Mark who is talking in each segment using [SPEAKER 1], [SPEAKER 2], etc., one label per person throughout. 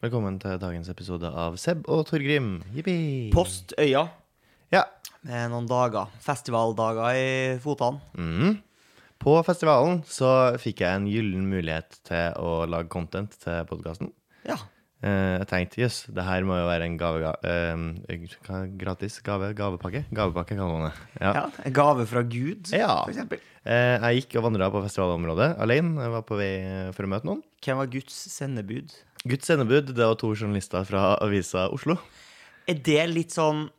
[SPEAKER 1] Velkommen til dagens episode av Seb og Torgrim. Jippi!
[SPEAKER 2] Postøya
[SPEAKER 1] Ja.
[SPEAKER 2] med noen dager. Festivaldager i fotene.
[SPEAKER 1] Mhm. På festivalen så fikk jeg en gyllen mulighet til å lage content til podkasten.
[SPEAKER 2] Ja.
[SPEAKER 1] Eh, jeg tenkte jøss, det her må jo være en gave, ga- eh, hva- gratis gave, gavepakke. Gavepakke kaller man det. Ja.
[SPEAKER 2] ja. En gave fra Gud,
[SPEAKER 1] Ja.
[SPEAKER 2] for eksempel.
[SPEAKER 1] Eh, jeg gikk og vandra på festivalområdet alene. Jeg var på vei for å møte noen.
[SPEAKER 2] Hvem var Guds sendebud?
[SPEAKER 1] Guds sendebud, det var to journalister fra avisa Oslo.
[SPEAKER 2] Er det litt sånn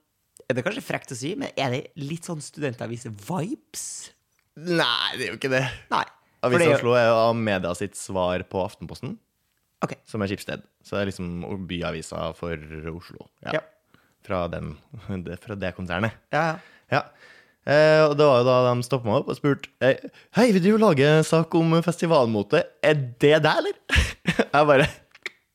[SPEAKER 2] er det kanskje frekt å si, men er det litt sånn studentavis-vibes?
[SPEAKER 1] Nei, det er jo ikke det.
[SPEAKER 2] Nei. for det
[SPEAKER 1] Avisa
[SPEAKER 2] er jo-
[SPEAKER 1] Oslo er jo media sitt svar på Aftenposten.
[SPEAKER 2] Ok.
[SPEAKER 1] Som er Skipsted. Så det er liksom byavisa for Oslo.
[SPEAKER 2] Ja.
[SPEAKER 1] Fra, den, det, fra det konsernet.
[SPEAKER 2] Ja, ja.
[SPEAKER 1] Ja. Eh, og det var jo da de stoppa meg opp og spurte eh, Hei, vil du lage en sak om festivalmote. Er det deg, eller? Jeg bare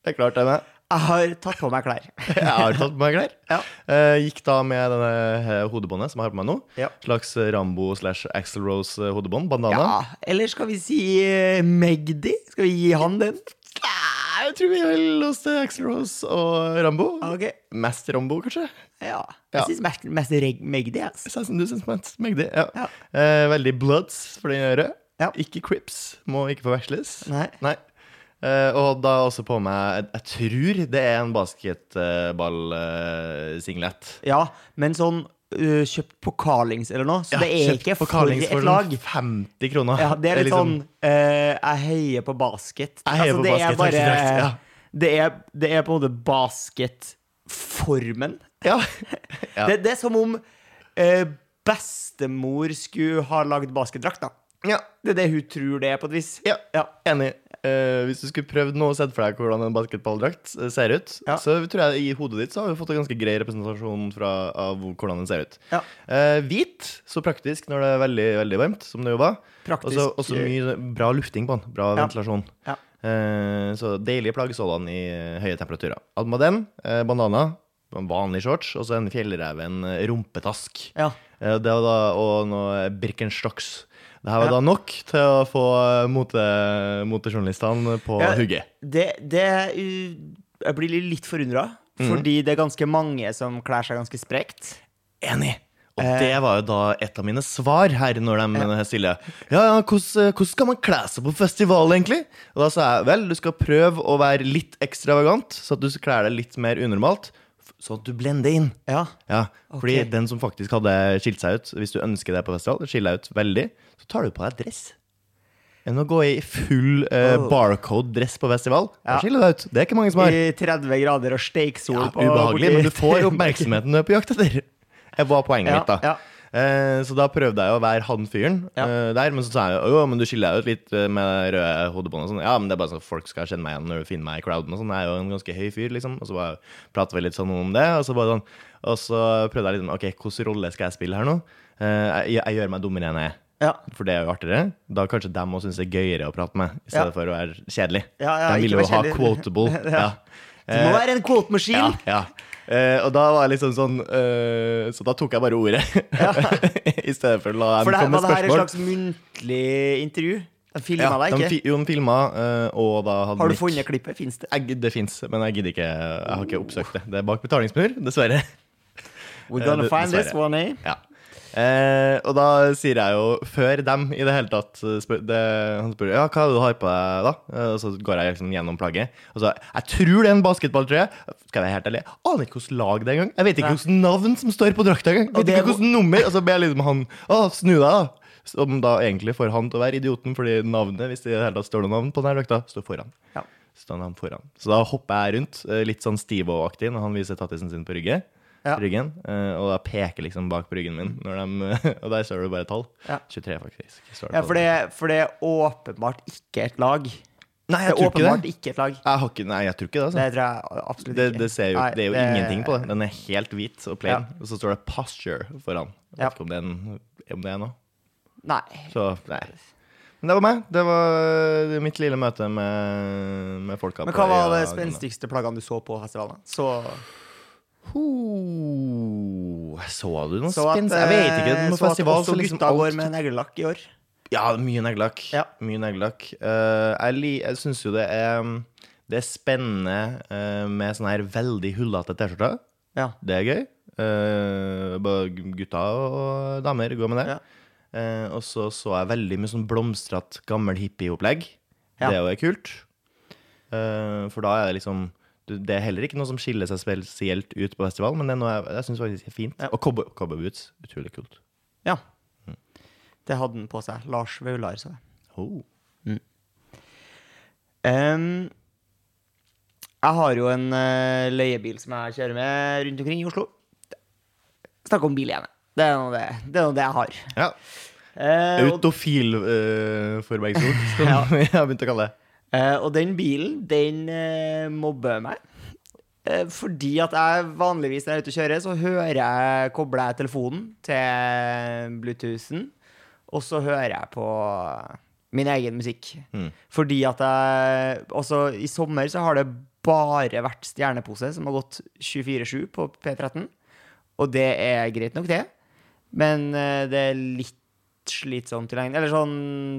[SPEAKER 1] Det er klart det er meg.
[SPEAKER 2] Jeg har tatt på meg klær.
[SPEAKER 1] Jeg har tatt på meg klær.
[SPEAKER 2] Ja.
[SPEAKER 1] Eh, gikk da med denne eh, hodebåndet som jeg har på meg nå.
[SPEAKER 2] Ja.
[SPEAKER 1] Slags Rambo slash Axl Rose-hodebånd. Bandana.
[SPEAKER 2] ja. Eller skal vi si eh, Magdi? Skal vi gi han den?
[SPEAKER 1] Nei, Jeg tror vi holder oss til Axl Rose og Rambo.
[SPEAKER 2] Ok.
[SPEAKER 1] Mest Rambo, kanskje.
[SPEAKER 2] Ja.
[SPEAKER 1] Ja.
[SPEAKER 2] Jeg syns mest, mest reg- Magdi, ass.
[SPEAKER 1] Sånn som du syns mest megdig. Ja.
[SPEAKER 2] Ja.
[SPEAKER 1] Eh, veldig Bloods for den er rød.
[SPEAKER 2] Ja.
[SPEAKER 1] Ikke Crips. Må ikke forveksles.
[SPEAKER 2] Nei.
[SPEAKER 1] Eh, og da også på meg Jeg tror det er en basketballsinglet.
[SPEAKER 2] Ja, men sånn ø, kjøpt på Carlings eller noe, så det er ikke for et lag.
[SPEAKER 1] 50 kroner.
[SPEAKER 2] Ja, det er litt
[SPEAKER 1] liksom-
[SPEAKER 2] sånn ø, Jeg heier på basket. Altså,
[SPEAKER 1] Jeg heier på
[SPEAKER 2] det
[SPEAKER 1] basket, takk
[SPEAKER 2] Er
[SPEAKER 1] for
[SPEAKER 2] bare,
[SPEAKER 1] det, ja.
[SPEAKER 2] det, er, det er på en måte basketformen.
[SPEAKER 1] Ja. Ja.
[SPEAKER 2] Det, det er som om ø, bestemor skulle ha lagd basketdrakt, da.
[SPEAKER 1] ja.
[SPEAKER 2] Det er det hun tror det er, på et vis.
[SPEAKER 1] Ja.
[SPEAKER 2] Ja.
[SPEAKER 1] Enig. Eh, hvis du skulle prøvd nå og sett for deg hvordan en basketballdrakt eh, ser ut,
[SPEAKER 2] Ja.
[SPEAKER 1] så tror jeg i hodet ditt så har vi fått en ganske grei representasjon fra, av hvor- hvordan den ser ut.
[SPEAKER 2] Ja.
[SPEAKER 1] Eh, hvit, så praktisk når det er veldig veldig varmt, som det jo var.
[SPEAKER 2] Praktisk.
[SPEAKER 1] Også, også mye sånn bra lufting på den. Bra
[SPEAKER 2] Ja.
[SPEAKER 1] ventilasjon.
[SPEAKER 2] Ja.
[SPEAKER 1] Eh, så deilige plagg sådan i eh, høye temperaturer. Hadde med den, eh, bandana, en vanlig shorts, og så en fjellreven eh, rumpetask.
[SPEAKER 2] Ja.
[SPEAKER 1] Eh, Det var da, og noe Birkenstocks. Det her var
[SPEAKER 2] Ja.
[SPEAKER 1] da nok til å få eh, mote, motejournalistene på
[SPEAKER 2] Ja.
[SPEAKER 1] hugget.
[SPEAKER 2] Det, det ø, Jeg blir litt forundra,
[SPEAKER 1] Mm.
[SPEAKER 2] fordi det er ganske mange som kler seg ganske sprekt.
[SPEAKER 1] Enig. Og det var jo da et av mine svar her når de eh, stiller. Ja, ja, hvordan, eh, hvordan skal man kle seg på festival, egentlig? Og da sa jeg vel, du skal prøve å være litt ekstravagant, så at du kler deg litt mer unormalt, f- sånn at du blender inn.
[SPEAKER 2] Ja.
[SPEAKER 1] Ja, fordi
[SPEAKER 2] Ok.
[SPEAKER 1] den som faktisk hadde skilt seg ut, hvis du ønsker det på festival, skille deg ut veldig, så tar du på deg dress. Enn å gå i full eh,
[SPEAKER 2] Oh.
[SPEAKER 1] barcode-dress på festival, da
[SPEAKER 2] Ja.
[SPEAKER 1] skiller du deg ut. Det er ikke mange som har.
[SPEAKER 2] I 30 grader og steiksol.
[SPEAKER 1] Ja,
[SPEAKER 2] på-
[SPEAKER 1] ubehagelig,
[SPEAKER 2] borti-
[SPEAKER 1] men du får oppmerksomheten du er på jakt etter. Det var poenget
[SPEAKER 2] Ja,
[SPEAKER 1] mitt, da.
[SPEAKER 2] ja.
[SPEAKER 1] Eh, så da prøvde jeg å være han fyren
[SPEAKER 2] Ja.
[SPEAKER 1] eh, der, men så sa jeg jo, jo, men du skiller deg ut litt eh, med det røde hodebåndet og sånn. Ja, men det er bare sånn at folk skal kjenne meg igjen når du finner meg i crowden og sånn. Jeg er jo en ganske høy fyr, liksom. Og så bare prater vi litt sånn om det, og så bare sånn. Og så prøvde jeg liksom, ok, hvilken rolle skal jeg spille her nå? Eh, jeg, jeg gjør meg dummere enn jeg er.
[SPEAKER 2] Ja.
[SPEAKER 1] For det er jo artigere. Da kanskje dem òg syns det er gøyere å prate med, i stedet
[SPEAKER 2] Ja.
[SPEAKER 1] for å være kjedelig.
[SPEAKER 2] Ja, ja,
[SPEAKER 1] de
[SPEAKER 2] ikke
[SPEAKER 1] vil jo
[SPEAKER 2] vær
[SPEAKER 1] ha
[SPEAKER 2] kjedelig.
[SPEAKER 1] quotable.
[SPEAKER 2] Ja.
[SPEAKER 1] ja.
[SPEAKER 2] Du må være en kvotemaskin.
[SPEAKER 1] Eh, Ja, ja. Eh, og da var jeg liksom sånn eh, Så da tok jeg bare ordet. I stedet for å la dem
[SPEAKER 2] For det, her-
[SPEAKER 1] komme
[SPEAKER 2] var
[SPEAKER 1] med
[SPEAKER 2] det her et
[SPEAKER 1] spørsmål.
[SPEAKER 2] slags muntlig intervju? De filma
[SPEAKER 1] ja,
[SPEAKER 2] deg
[SPEAKER 1] de,
[SPEAKER 2] ikke?
[SPEAKER 1] fi- jo, de filma, eh, og da hadde
[SPEAKER 2] Har du
[SPEAKER 1] mikk.
[SPEAKER 2] funnet klippet? Fins det?
[SPEAKER 1] Jeg, det fins, men jeg gidder ikke. Jeg har ikke oppsøkt det. Det er bak betalingsmur, dessverre.
[SPEAKER 2] We're
[SPEAKER 1] Eh,
[SPEAKER 2] gonna
[SPEAKER 1] det-
[SPEAKER 2] find this
[SPEAKER 1] dessverre.
[SPEAKER 2] one, eh?
[SPEAKER 1] Ja. Eh, og da sier jeg jo før dem i det hele tatt eh, spør, det, Han spør ja, hva er det du har på deg, da? Eh, Og så går jeg liksom gjennom plagget. Og så Jeg tror det er en basketballtrøye. Skal jeg være helt ærlig, jeg aner ikke hvilket lag det er engang. Jeg vet ikke
[SPEAKER 2] Nei.
[SPEAKER 1] hvilket navn som står på drakta engang. Jeg
[SPEAKER 2] Og
[SPEAKER 1] Vet
[SPEAKER 2] det
[SPEAKER 1] ikke
[SPEAKER 2] er
[SPEAKER 1] hvilket nummer. Og så ber jeg liksom han å, snu deg, da. Som da egentlig får han til å være idioten, fordi navnet, hvis det i det hele tatt står noe navn på denne drakta, står foran.
[SPEAKER 2] Ja.
[SPEAKER 1] Står han foran. Så da hopper jeg rundt, eh, litt sånn Stivo-aktig, når han viser tattisen sin på ryggen
[SPEAKER 2] Ja.
[SPEAKER 1] ryggen, eh, og da peker liksom bak på ryggen min. Når de, og der står det bare tall.
[SPEAKER 2] Ja.
[SPEAKER 1] 23, faktisk. står det
[SPEAKER 2] Ja,
[SPEAKER 1] på
[SPEAKER 2] for det, for det er åpenbart ikke et lag.
[SPEAKER 1] Nei,
[SPEAKER 2] Det
[SPEAKER 1] jeg
[SPEAKER 2] er
[SPEAKER 1] tror ikke
[SPEAKER 2] åpenbart
[SPEAKER 1] det.
[SPEAKER 2] ikke et lag.
[SPEAKER 1] Jeg har ikke, nei, jeg tror ikke det.
[SPEAKER 2] Det
[SPEAKER 1] Altså.
[SPEAKER 2] tror jeg absolutt
[SPEAKER 1] Det,
[SPEAKER 2] ikke.
[SPEAKER 1] det, ser jo,
[SPEAKER 2] Nei,
[SPEAKER 1] det er jo ingenting på det. Den er helt hvit og plain. Og så står det 'posture' foran. Jeg vet
[SPEAKER 2] Ja.
[SPEAKER 1] ikke om det er, en, om det er noe.
[SPEAKER 2] Nei.
[SPEAKER 1] Så nei. Men det var meg. Det var mitt lille møte med, med folka.
[SPEAKER 2] Men
[SPEAKER 1] på
[SPEAKER 2] hva var
[SPEAKER 1] øya
[SPEAKER 2] det
[SPEAKER 1] Grønland.
[SPEAKER 2] spenstigste plaggene du så på festivalen? Så
[SPEAKER 1] Ho, så du noe
[SPEAKER 2] så at,
[SPEAKER 1] spenstig? Jeg vet ikke.
[SPEAKER 2] eh,
[SPEAKER 1] På
[SPEAKER 2] så at
[SPEAKER 1] festival
[SPEAKER 2] også
[SPEAKER 1] så liksom
[SPEAKER 2] gutta
[SPEAKER 1] alt-
[SPEAKER 2] går med neglelakk i år.
[SPEAKER 1] Ja, mye neglelakk.
[SPEAKER 2] Ja.
[SPEAKER 1] Mye neglelakk. Eh, jeg li- jeg syns jo det er Det er spennende eh, med sånne her veldig hullete T-skjorter.
[SPEAKER 2] Ja.
[SPEAKER 1] Det er gøy. Eh, både gutta og damer går med det.
[SPEAKER 2] Ja.
[SPEAKER 1] Eh, og så så jeg veldig mye sånn blomstrete, gammel hippieopplegg.
[SPEAKER 2] Ja.
[SPEAKER 1] Det òg er kult. Eh, for da er det liksom du- Det er heller ikke noe som skiller seg spesielt ut på festival, men det er noe jeg, jeg syns faktisk er fint.
[SPEAKER 2] Ja.
[SPEAKER 1] Og cowboy- cowboyboots. Utrolig kult.
[SPEAKER 2] ja. Det hadde han på seg. Lars Vaular, så jeg.
[SPEAKER 1] Oh.
[SPEAKER 2] Ehm, jeg har jo en eh, leiebil som jeg kjører med rundt omkring i Oslo. Snakk om bil igjen. Det er nå det, det, er nå det jeg har.
[SPEAKER 1] Ja.
[SPEAKER 2] Eh, og,
[SPEAKER 1] Autofil uh, forbergsord, som
[SPEAKER 2] Ja.
[SPEAKER 1] jeg har begynt å kalle det.
[SPEAKER 2] eh, og den bilen, den eh, mobber meg. Eh, fordi at jeg vanligvis når jeg er ute og kjører, så hører jeg, kobler jeg telefonen til Bluetoothen, og så hører jeg på min egen musikk.
[SPEAKER 1] Mm.
[SPEAKER 2] Fordi at jeg Også i sommer så har det bare vært Stjernepose, som har gått 24-7 på P13. Og det er greit nok, det. Men eh, det er litt slitsomt i lengden. Eller sånn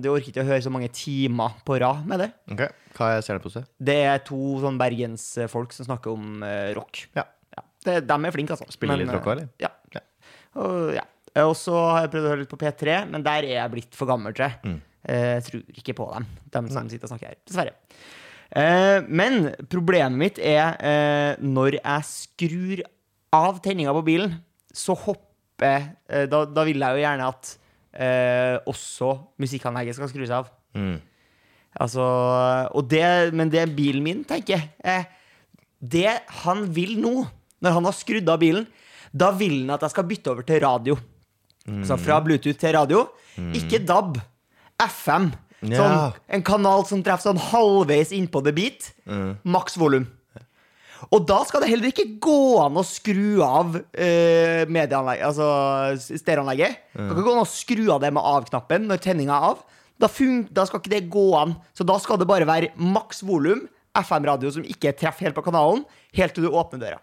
[SPEAKER 2] Du orker ikke å høre så mange timer på rad med det.
[SPEAKER 1] Ok, Hva er stjernepose?
[SPEAKER 2] Det er to sånn bergensfolk som snakker om eh, rock.
[SPEAKER 1] Ja.
[SPEAKER 2] Det, de er flinke, altså.
[SPEAKER 1] Spiller litt
[SPEAKER 2] eh,
[SPEAKER 1] rock også, eller?
[SPEAKER 2] Ja.
[SPEAKER 1] Ja.
[SPEAKER 2] Og, ja. og så har jeg prøvd å høre litt på P3, men der er jeg blitt for gammel, tror jeg.
[SPEAKER 1] Mm.
[SPEAKER 2] Eh, Jeg tror ikke på dem, dem som sitter og snakker her. Dessverre. Eh, Men problemet mitt er eh, når jeg skrur av tenninga på bilen, så hopper eh, Da, da vil jeg jo gjerne at eh, også musikkanlegget skal skrus av.
[SPEAKER 1] Mm.
[SPEAKER 2] Altså, og det, men det er bilen min, tenker jeg. Eh, det han vil nå, når han har skrudd av bilen, da vil han at jeg skal bytte over til radio. Så fra Bluetooth til radio. Ikke DAB. FM.
[SPEAKER 1] Ja. Mm.
[SPEAKER 2] Sånn, en kanal som treffer sånn halvveis innpå the beat. Maks volum. Og da skal det heller ikke gå an å skru av eh, medieanlegg, altså s- stereoanlegget. Det kan ikke gå an å skru av det med av-knappen når tenninga er av. Da, fun da skal ikke det gå an. Så da skal det bare være maks volum, FM-radio som ikke treffer helt på kanalen, helt til du åpner døra.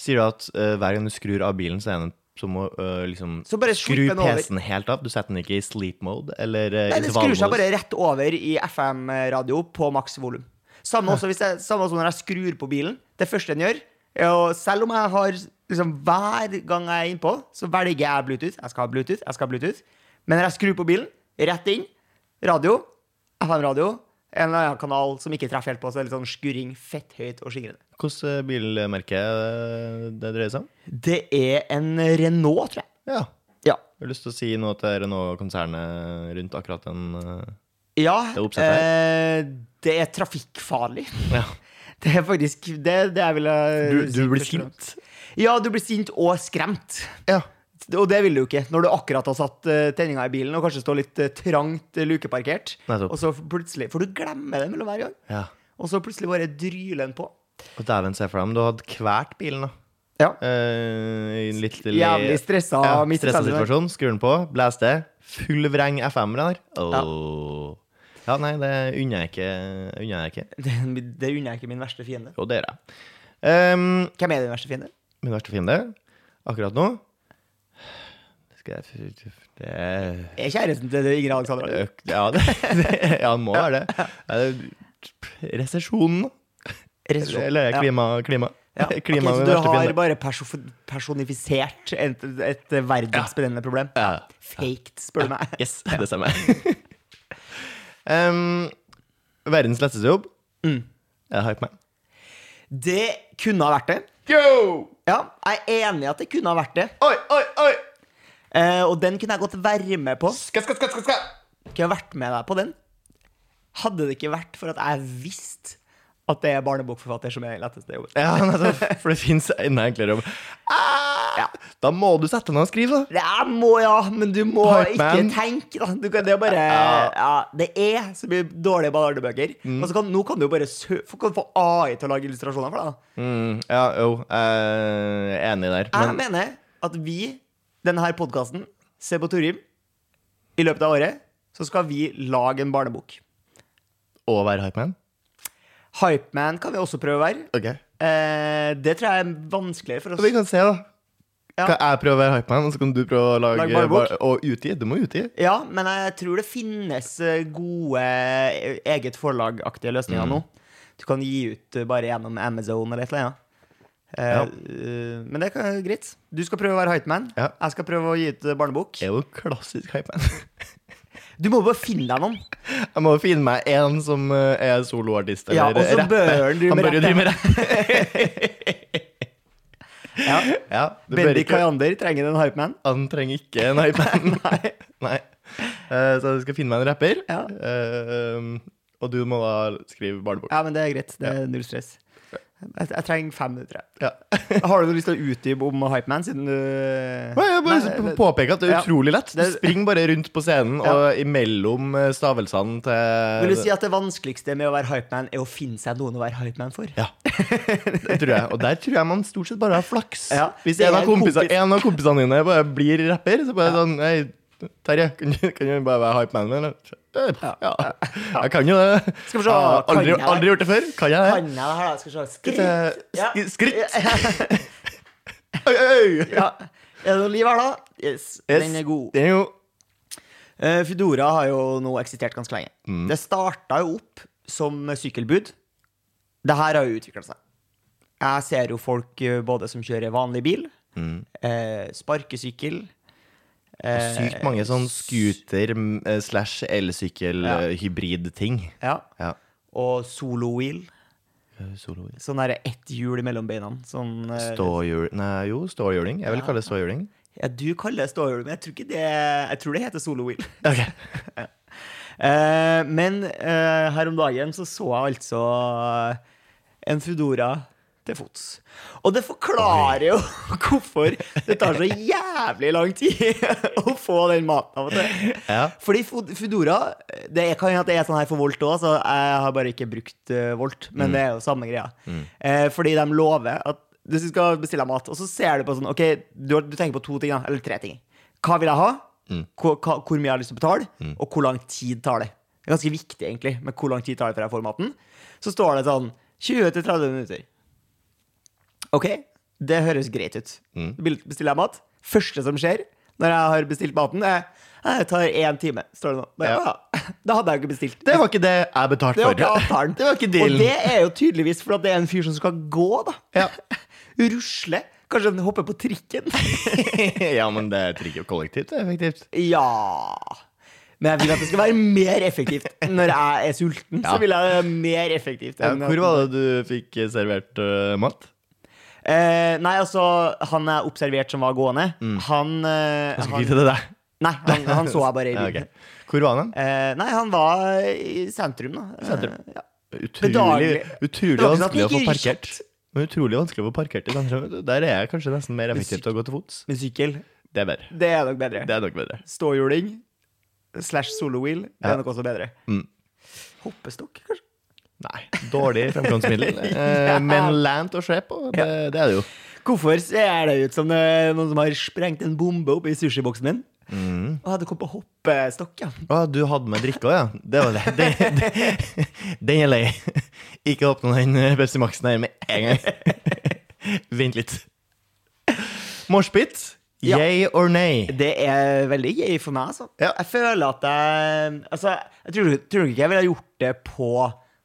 [SPEAKER 1] Sier du at eh, hver gang du skrur av bilen, så er den som å eh, liksom
[SPEAKER 2] Så bare
[SPEAKER 1] Skru
[SPEAKER 2] slipp den over.
[SPEAKER 1] PC-en helt av. Du setter den ikke i sleep mode eller eh,
[SPEAKER 2] Nei, det skrur seg
[SPEAKER 1] intervallmodus.
[SPEAKER 2] bare rett over i FM-radio på maks volum. Samme også hvis jeg, samme også når jeg skrur på bilen. Det første den gjør, er å Selv om jeg har liksom Hver gang jeg er innpå, så velger jeg Bluetooth. Jeg skal ha Bluetooth, jeg skal ha Bluetooth. Men når jeg skrur på bilen, rett inn. Radio. FM-radio. En eller annen kanal som ikke treffer helt på, så det er litt sånn skurring, fetthøyt og skingrende.
[SPEAKER 1] Hvilket eh, bilmerke eh, det dreier seg om?
[SPEAKER 2] Det er en Renault, tror jeg.
[SPEAKER 1] Ja.
[SPEAKER 2] Ja.
[SPEAKER 1] Jeg har lyst til å si noe til Renault-konsernet rundt akkurat den eh,
[SPEAKER 2] ja
[SPEAKER 1] Det er oppsett
[SPEAKER 2] eh, det er trafikkfarlig.
[SPEAKER 1] ja.
[SPEAKER 2] Det er eh, faktisk Det, det jeg ville si først og fremst. Ja, du blir sint og skremt.
[SPEAKER 1] Ja.
[SPEAKER 2] Og det vil du jo ikke når du akkurat har satt eh, tenninga i bilen og kanskje står litt eh, trangt eh, lukeparkert.
[SPEAKER 1] Nettopp.
[SPEAKER 2] Og så plutselig For du glemmer det mellom hver gang.
[SPEAKER 1] ja.
[SPEAKER 2] Og så plutselig bare dryler den på.
[SPEAKER 1] Og dæven, se for deg om du hadde kvært bilen, da.
[SPEAKER 2] Ja.
[SPEAKER 1] Eh, i en litt
[SPEAKER 2] Jævlig stressa.
[SPEAKER 1] ja,
[SPEAKER 2] midt i
[SPEAKER 1] stressa
[SPEAKER 2] sendingen.
[SPEAKER 1] situasjon. Skrur den på, blæs det. Full vreng FM-er der. Åh. Ja, nei, det unner jeg ikke. Unner jeg ikke.
[SPEAKER 2] Det, det unner jeg ikke min verste fiende.
[SPEAKER 1] Jo, det gjør jeg. Ehm,
[SPEAKER 2] Hvem er din verste fiende?
[SPEAKER 1] min verste fiende akkurat nå Skal jeg Det er
[SPEAKER 2] Er kjæresten til Ingrid Alexandra?
[SPEAKER 1] øk- Ja, det, det ja, det må være det. Er det. Resesjonen,
[SPEAKER 2] Resesjon.
[SPEAKER 1] eller
[SPEAKER 2] Ja.
[SPEAKER 1] klima, klima.
[SPEAKER 2] Ja.
[SPEAKER 1] klima
[SPEAKER 2] Ok,
[SPEAKER 1] er min
[SPEAKER 2] så du
[SPEAKER 1] verste
[SPEAKER 2] har
[SPEAKER 1] fiende.
[SPEAKER 2] bare perso- personifisert et, et verdensbrennende problem?
[SPEAKER 1] Ja.
[SPEAKER 2] Faked, spør du meg.
[SPEAKER 1] Yes, det stemmer. Ehm, verdens letteste jobb.
[SPEAKER 2] Mm.
[SPEAKER 1] Jeg har ikke meg.
[SPEAKER 2] Det kunne ha vært det.
[SPEAKER 1] Yo!
[SPEAKER 2] Ja, jeg er enig i at det kunne ha vært det.
[SPEAKER 1] Oi, oi, oi!
[SPEAKER 2] Eh, og den kunne jeg godt være med på.
[SPEAKER 1] Skal, skal, skal, skal, skal.
[SPEAKER 2] Kunne jeg vært med deg på den? Hadde det ikke vært for at jeg visste at det er barnebokforfatter som er den letteste jobben.
[SPEAKER 1] Ja, nettopp, for det fins enda enklere jobb. Ah, Da må du sette deg ned og skrive, da.
[SPEAKER 2] Det er må, ja, men du må
[SPEAKER 1] Hype
[SPEAKER 2] ikke
[SPEAKER 1] man.
[SPEAKER 2] tenke. Da. Du kan, det, er bare,
[SPEAKER 1] Ja. Mm.
[SPEAKER 2] ja, det er så mye dårlige barnebøker. Og så kan, nå kan du jo bare sø, kan du få AI til å lage illustrasjoner for deg. da.
[SPEAKER 1] Mm, ja, jo. Eh, enig der.
[SPEAKER 2] Jeg
[SPEAKER 1] Men
[SPEAKER 2] mener at vi, denne her podkasten, Se på Torim, i løpet av året, så skal vi lage en barnebok.
[SPEAKER 1] å være hypeman?
[SPEAKER 2] Hypeman kan vi også prøve å være.
[SPEAKER 1] Ok.
[SPEAKER 2] Eh, det tror jeg er vanskeligere for oss.
[SPEAKER 1] Så vi kan se, da.
[SPEAKER 2] Ja.
[SPEAKER 1] Kan jeg prøve å være hypeman, og så kan du prøve å lage
[SPEAKER 2] Lage barnebok?
[SPEAKER 1] bar- Og utgi. Du må utgi.
[SPEAKER 2] Ja,
[SPEAKER 1] Mm.
[SPEAKER 2] men jeg tror det finnes eh, gode eh, eget forlagaktige løsninger nå. Du kan gi ut eh, bare gjennom Amazon eller et eller annet. Eh,
[SPEAKER 1] Ja.
[SPEAKER 2] eh, men det er greit. Du skal prøve å være hypeman.
[SPEAKER 1] Ja.
[SPEAKER 2] Jeg skal prøve å gi ut eh, barnebok.
[SPEAKER 1] Jeg er jo klassisk hype man.
[SPEAKER 2] Du må bare finne deg noen.
[SPEAKER 1] Jeg må jo finne meg en som eh, er soloartist
[SPEAKER 2] Ja,
[SPEAKER 1] eller
[SPEAKER 2] og så
[SPEAKER 1] rapper.
[SPEAKER 2] bør han drive
[SPEAKER 1] Han
[SPEAKER 2] med
[SPEAKER 1] bør jo drive
[SPEAKER 2] rapp.
[SPEAKER 1] med rapp.
[SPEAKER 2] Ja.
[SPEAKER 1] Ja, du bør
[SPEAKER 2] Bendik
[SPEAKER 1] ikke-
[SPEAKER 2] Kayander trenger en hypeman.
[SPEAKER 1] Han trenger ikke en iPad. Nei. Nei. Eh, så du skal finne meg en rapper.
[SPEAKER 2] Ja.
[SPEAKER 1] Eh, og du må da skrive barnebok.
[SPEAKER 2] Ja, men det er greit. Det er null stress. Jeg, jeg trenger fem minutter. jeg.
[SPEAKER 1] Ja.
[SPEAKER 2] Har du noe lyst til å utdype om hypeman, siden du
[SPEAKER 1] Nei, Jeg bare
[SPEAKER 2] Nei, det-
[SPEAKER 1] påpeker at det er
[SPEAKER 2] ja.
[SPEAKER 1] utrolig lett. Du
[SPEAKER 2] Det-
[SPEAKER 1] springer bare rundt på scenen
[SPEAKER 2] Ja.
[SPEAKER 1] og imellom eh, stavelsene til
[SPEAKER 2] Vil du si at det vanskeligste med å være hypeman er å finne seg noen å være hypeman for?
[SPEAKER 1] Ja. Det tror jeg. Og der tror jeg man stort sett bare har flaks.
[SPEAKER 2] Ja,
[SPEAKER 1] Hvis
[SPEAKER 2] det
[SPEAKER 1] en
[SPEAKER 2] er
[SPEAKER 1] av,
[SPEAKER 2] en
[SPEAKER 1] kompisa,
[SPEAKER 2] kompis.
[SPEAKER 1] en av kompisene dine bare blir rapper, så bare sånn Hei, Terje, kan du, kan du bare være hype man min? eller?» Ja. Jeg kan jo det.
[SPEAKER 2] Skal vi
[SPEAKER 1] Jeg
[SPEAKER 2] se,
[SPEAKER 1] har
[SPEAKER 2] kan
[SPEAKER 1] aldri,
[SPEAKER 2] jeg det?
[SPEAKER 1] aldri gjort det før. Kan jeg det?
[SPEAKER 2] Kan jeg det her, da? Skal vi se.
[SPEAKER 1] Eh,
[SPEAKER 2] Skritt! Ja.
[SPEAKER 1] sk- Skritt! Oi, oi, oi.
[SPEAKER 2] ja. Er det noe liv her, da? Yes.
[SPEAKER 1] Yes,
[SPEAKER 2] Den er god.
[SPEAKER 1] Den er jo
[SPEAKER 2] Eh, Foodora har jo nå eksistert ganske lenge. Det starta jo opp som sykkelbud. Det her har jo utvikla seg. Jeg ser jo folk eh, både som kjører vanlig bil, eh, sparkesykkel eh,
[SPEAKER 1] sykt mange sånn scooter mm, eh, slash
[SPEAKER 2] Ja.
[SPEAKER 1] elsykkel-hybrid-ting.
[SPEAKER 2] Ja.
[SPEAKER 1] Ja.
[SPEAKER 2] Og solowheel.
[SPEAKER 1] Eh, solo-
[SPEAKER 2] Sånn derre ett hjul mellom beina. Sånn, eh,
[SPEAKER 1] Ståhjul... Nei, jo, ståhjuling. Jeg vil kalle det ståhjuling.
[SPEAKER 2] ja, du kaller det ståhjul, men jeg tror ikke det Jeg tror det heter solowheel.
[SPEAKER 1] Ok.
[SPEAKER 2] Eh, men eh, her om dagen så så jeg altså en Foodora til fots. Og det forklarer jo hvorfor det tar så jævlig lang tid å få den maten av og til.
[SPEAKER 1] Ja.
[SPEAKER 2] Fordi Fo- Foodora Det er, kan hende at det er sånn her for Volt òg, så jeg har bare ikke brukt eh, Volt. Men det er jo samme greia. Eh, fordi de lover at hvis du skal bestille mat, og så ser du på sånn Ok, du, har- du tenker på to ting, da. Eller tre ting. Hva vil jeg ha? Hvor, hva, hvor mye jeg har lyst til å betale? Og hvor lang tid tar det? Det er ganske viktig, egentlig, med hvor lang tid tar det før jeg får maten. Så står det sånn 20-30 minutter. Ok, det høres greit ut.
[SPEAKER 1] Mm.
[SPEAKER 2] Bel- Bestiller jeg mat? Første som skjer når jeg har bestilt maten, er jeg tar én time. Står det nå. Bare,
[SPEAKER 1] Ja.
[SPEAKER 2] «Å, Da hadde jeg jo ikke bestilt.
[SPEAKER 1] Det var ikke det jeg betalte
[SPEAKER 2] Det
[SPEAKER 1] for.
[SPEAKER 2] var ikke avtalen.
[SPEAKER 1] Det var ikke dealen.
[SPEAKER 2] Og det er jo tydeligvis fordi det er en fyr som skal gå, da.
[SPEAKER 1] Ja.
[SPEAKER 2] Rusle. Kanskje han hopper på trikken.
[SPEAKER 1] ja, men det trigger jo kollektivt, det er effektivt.
[SPEAKER 2] Ja Men jeg vil at det skal være mer effektivt. Når jeg er
[SPEAKER 1] Ja.
[SPEAKER 2] sulten, så vil jeg det være mer effektivt.
[SPEAKER 1] Ja,
[SPEAKER 2] enn
[SPEAKER 1] hvor
[SPEAKER 2] at-
[SPEAKER 1] var det du fikk eh, servert eh, mat?
[SPEAKER 2] Eh, nei, altså, han er observert som var gående. Han, eh,
[SPEAKER 1] Jeg Mm. skal
[SPEAKER 2] han
[SPEAKER 1] ikke til det der.
[SPEAKER 2] Nei, han, han så jeg bare i
[SPEAKER 1] Ja,
[SPEAKER 2] bilen.
[SPEAKER 1] ok. Hvor var han?
[SPEAKER 2] Eh, nei, han var i sentrum, da. Eh, ja.
[SPEAKER 1] Utrolig,
[SPEAKER 2] Bedagelig. Det
[SPEAKER 1] utrolig
[SPEAKER 2] var ikke sånn at
[SPEAKER 1] vanskelig å
[SPEAKER 2] det
[SPEAKER 1] få
[SPEAKER 2] gikk i
[SPEAKER 1] parkert. Men utrolig vanskelig å få parkert i sentrum. vet du. Der er jeg kanskje nesten mer effektivt å gå til fots.
[SPEAKER 2] Med sykkel.
[SPEAKER 1] Det er bedre.
[SPEAKER 2] Det er nok bedre.
[SPEAKER 1] Det er nok bedre.
[SPEAKER 2] Ståhjuling slash solowheel, det
[SPEAKER 1] Ja.
[SPEAKER 2] er nok også bedre.
[SPEAKER 1] Mm.
[SPEAKER 2] Hoppestokk, kanskje?
[SPEAKER 1] Nei, dårlig fremkomstmiddel, eh, men lant å se på, det, det er det jo.
[SPEAKER 2] Hvorfor ser det ut som det er noen som har sprengt en bombe oppi sushiboksen min?
[SPEAKER 1] Mm.
[SPEAKER 2] Og hadde kommet på hoppestokk, ja.
[SPEAKER 1] Å, du hadde med drikke òg, ja. Det var det. Den, den, den er lei. Ikke åpne den eh, Pepsi Max-en her med en gang. Vent litt. Moshpit.
[SPEAKER 2] Ja.
[SPEAKER 1] Yay or nay?
[SPEAKER 2] Det er veldig gøy for meg, altså.
[SPEAKER 1] Ja.
[SPEAKER 2] Jeg føler at jeg Altså, jeg tror, tror ikke jeg ville ha gjort det på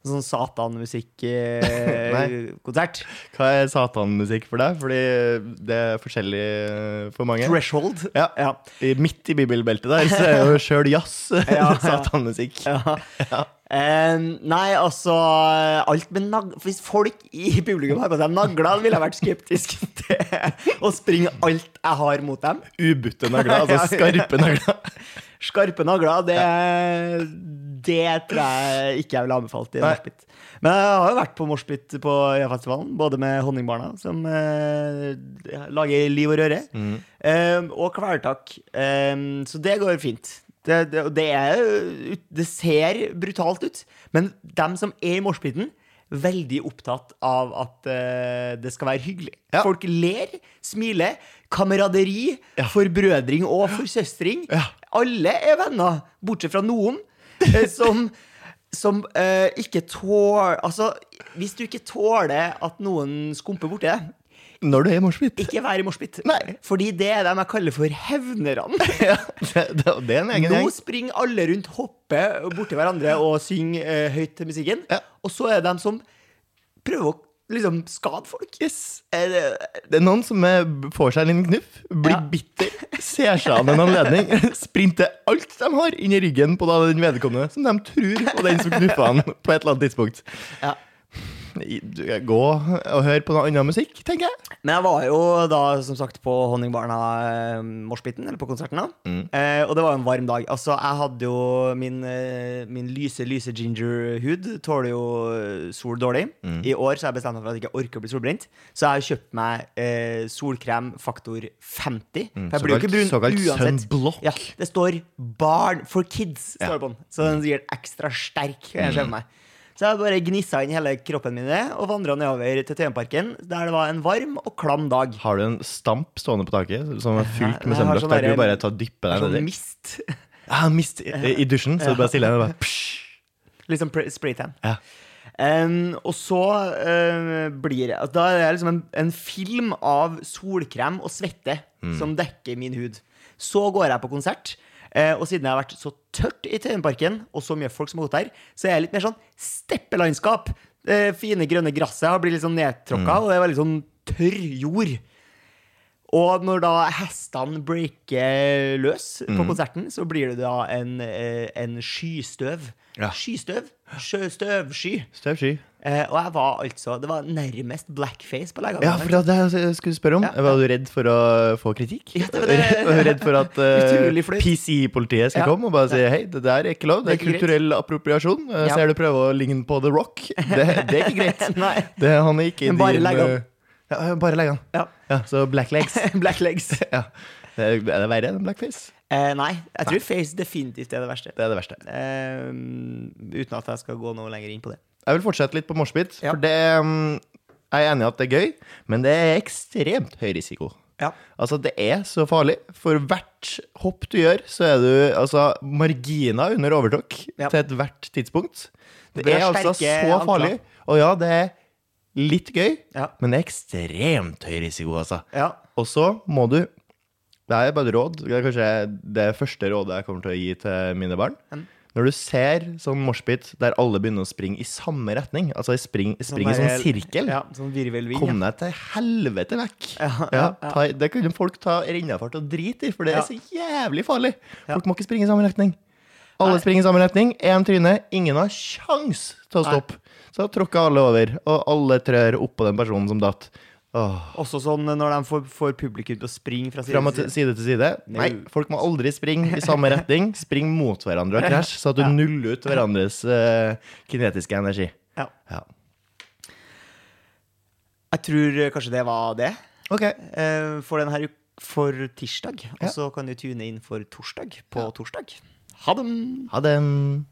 [SPEAKER 2] sånn eh,
[SPEAKER 1] Nei.
[SPEAKER 2] satan-musikk-konsert.
[SPEAKER 1] Hva er satanmusikk for deg? Fordi det er forskjellig eh, for mange.
[SPEAKER 2] Threshold.
[SPEAKER 1] Ja.
[SPEAKER 2] Ja.
[SPEAKER 1] I- Midt i bibelbeltet der så er jo sjøl jazz
[SPEAKER 2] ja.
[SPEAKER 1] satanmusikk.
[SPEAKER 2] Ja. Eh, nei, altså Alt med nag... Hvis folk i publikum har på seg nagler, ville jeg vært skeptisk til å springe alt jeg har mot dem.
[SPEAKER 1] Ubutte nagler, altså
[SPEAKER 2] Ja.
[SPEAKER 1] skarpe nagler.
[SPEAKER 2] Skarpe nagler, det, det tror jeg ikke jeg ville anbefalt i
[SPEAKER 1] Nei.
[SPEAKER 2] moshpit. Men jeg har jo vært på moshpit på Øyafestivalen, både med Honningbarna, som eh, lager liv og røre,
[SPEAKER 1] Mm.
[SPEAKER 2] eh, og Kvelertak. Eh, så det går fint. Det, det, og det, er, jo ut- det ser brutalt ut, men dem som er i moshpiten, veldig opptatt av at eh, det skal være hyggelig.
[SPEAKER 1] Ja.
[SPEAKER 2] Folk ler, smiler, kameraderi, forbrødring og forsøstring.
[SPEAKER 1] Ja.
[SPEAKER 2] Alle er venner, bortsett fra noen eh, som, som eh, ikke tåler Altså, hvis du ikke tåler at noen skumper borti deg,
[SPEAKER 1] Når du er i moshpit.
[SPEAKER 2] ikke vær i moshpit.
[SPEAKER 1] Nei.
[SPEAKER 2] Fordi det er dem jeg kaller for hevnerne.
[SPEAKER 1] Ja, det, det, det er en egen
[SPEAKER 2] Nå
[SPEAKER 1] gjeng.
[SPEAKER 2] springer alle rundt, hopper borti hverandre og synger eh, høyt til musikken.
[SPEAKER 1] Ja.
[SPEAKER 2] Og så er det dem som prøver å liksom skade folk. Eh,
[SPEAKER 1] Yes. Er det, det er noen som eh, får seg en liten knuff, blir
[SPEAKER 2] Ja.
[SPEAKER 1] bitter, ser seg an en anledning, sprinter alt de har, inn i ryggen på da den vedkommende som de tror og den som knuffa han på et eller annet tidspunkt.
[SPEAKER 2] Ja.
[SPEAKER 1] I- du, Gå og hør på noe annen musikk, tenker jeg.
[SPEAKER 2] Men jeg var jo da som sagt på Honningbarna-morsbiten, eller på konserten, da.
[SPEAKER 1] Mm.
[SPEAKER 2] Eh, og det var jo en varm dag. Altså, jeg hadde jo min, eh, min lyse, lyse ginger-hud tåler jo eh, sol dårlig.
[SPEAKER 1] Mm.
[SPEAKER 2] I år så har jeg bestemt meg for at jeg ikke orker å bli solbrent, så jeg har kjøpt meg eh, solkrem faktor 50. For jeg blir jo ikke brun
[SPEAKER 1] Mm. Såkalt- såkalt
[SPEAKER 2] uansett.
[SPEAKER 1] sunblock.
[SPEAKER 2] Ja, det står 'barn for kids', står
[SPEAKER 1] Ja.
[SPEAKER 2] det på den. Så den er sikkert ekstra sterk. kan Jeg se for meg. Så jeg bare gnissa inn hele kroppen min i det, og vandra nedover til Tøyenparken, der det var en varm og klam dag.
[SPEAKER 1] Har du en stamp stående på taket som er fylt
[SPEAKER 2] Nei,
[SPEAKER 1] med
[SPEAKER 2] jeg har
[SPEAKER 1] sømløk?
[SPEAKER 2] sånn
[SPEAKER 1] Der
[SPEAKER 2] der-
[SPEAKER 1] du bare tar og dypper deg
[SPEAKER 2] Sånn
[SPEAKER 1] nedi?
[SPEAKER 2] mist.
[SPEAKER 1] Ah, mist i, i dusjen, så du bare stiller deg og bare psj.
[SPEAKER 2] Litt sånn pr- spraytan.
[SPEAKER 1] Ja.
[SPEAKER 2] Em, og så eh, blir det altså, Da er det liksom en, en film av solkrem og svette som dekker min hud. Så går jeg på konsert, eh, og siden jeg har vært så tørt i Tøyenparken, og så mye folk som har gått der, så er jeg litt mer sånn steppelandskap. Det fine, grønne gresset har blitt litt sånn nedtråkka, og det er veldig sånn tørr jord. Og når da hestene breaker løs på
[SPEAKER 1] Mm.
[SPEAKER 2] konserten, så blir det da en, eh, en skystøv.
[SPEAKER 1] Ja.
[SPEAKER 2] Skystøv? Sjø, støvsky.
[SPEAKER 1] Støvsky.
[SPEAKER 2] Eh, og jeg var altså Det var nærmest blackface på legene.
[SPEAKER 1] Ja, for det var det jeg skulle spørre om.
[SPEAKER 2] Ja, ja.
[SPEAKER 1] Var du redd for å få kritikk?
[SPEAKER 2] Ja, det var det.
[SPEAKER 1] Var du redd for at
[SPEAKER 2] Utrolig flaut.
[SPEAKER 1] PC-politiet skal
[SPEAKER 2] Ja.
[SPEAKER 1] komme og bare si hei, det der er ikke lov, det er
[SPEAKER 2] Det er ikke
[SPEAKER 1] kulturell appropriasjon. Eh,
[SPEAKER 2] Ja.
[SPEAKER 1] Ser du prøver å ligne på The Rock? Det, det er ikke greit.
[SPEAKER 2] Nei.
[SPEAKER 1] Det, han er ikke
[SPEAKER 2] Men bare
[SPEAKER 1] din,
[SPEAKER 2] legg han.
[SPEAKER 1] eh, Ja, bare legg han.
[SPEAKER 2] Ja.
[SPEAKER 1] Ja, så blacklegs.
[SPEAKER 2] Blacklegs.
[SPEAKER 1] ja. Det er, er det verre enn blackface?
[SPEAKER 2] Eh, nei, jeg tror face definitivt er det verste.
[SPEAKER 1] Det er det verste.
[SPEAKER 2] Eh, uten at jeg skal gå noe lenger inn på det.
[SPEAKER 1] Jeg vil fortsette litt på moshpit,
[SPEAKER 2] Ja.
[SPEAKER 1] for det mm, jeg er enig i at det er gøy, men det er ekstremt høy risiko.
[SPEAKER 2] Ja.
[SPEAKER 1] Altså, det er så farlig. For hvert hopp du gjør, så er du altså marginer under overtok
[SPEAKER 2] Ja.
[SPEAKER 1] til ethvert tidspunkt. Det,
[SPEAKER 2] Det blir
[SPEAKER 1] er altså
[SPEAKER 2] sterke
[SPEAKER 1] så
[SPEAKER 2] ankler.
[SPEAKER 1] farlig. Og ja, det er litt gøy,
[SPEAKER 2] Ja.
[SPEAKER 1] men det er ekstremt høy risiko, altså.
[SPEAKER 2] ja.
[SPEAKER 1] Og så må du Det er bare råd. Det er kanskje det første rådet jeg kommer til å gi til mine barn. Når du ser sånn moshpit der alle begynner å springe i samme retning, altså i spring, spring i sånn
[SPEAKER 2] der-
[SPEAKER 1] sirkel
[SPEAKER 2] Ja, sånn virvelvind.
[SPEAKER 1] Kom deg til helvete vekk.
[SPEAKER 2] Ja,
[SPEAKER 1] Ja, ta, det kan jo folk ta rennafart og drite i, for det
[SPEAKER 2] Ja.
[SPEAKER 1] er så jævlig farlig. Folk må ikke springe i samme retning. Alle springer i samme retning, én tryne. Ingen har sjans til å
[SPEAKER 2] Nei.
[SPEAKER 1] stoppe. Så tråkker alle over, og alle trør oppå den personen som datt. Åh.
[SPEAKER 2] Også sånn når de får, får publikum til å springe fra side
[SPEAKER 1] Fra
[SPEAKER 2] til side.
[SPEAKER 1] side til side. Nei, folk må aldri springe i samme retning. Spring mot hverandre og krasj, så at du nuller ut hverandres eh, kinetiske energi.
[SPEAKER 2] Ja.
[SPEAKER 1] Ja.
[SPEAKER 2] Jeg tror eh, kanskje det var det
[SPEAKER 1] OK.
[SPEAKER 2] eh, for denne uka. For tirsdag. Og så kan du tune inn for torsdag på torsdag. Ha det!
[SPEAKER 1] Ha det.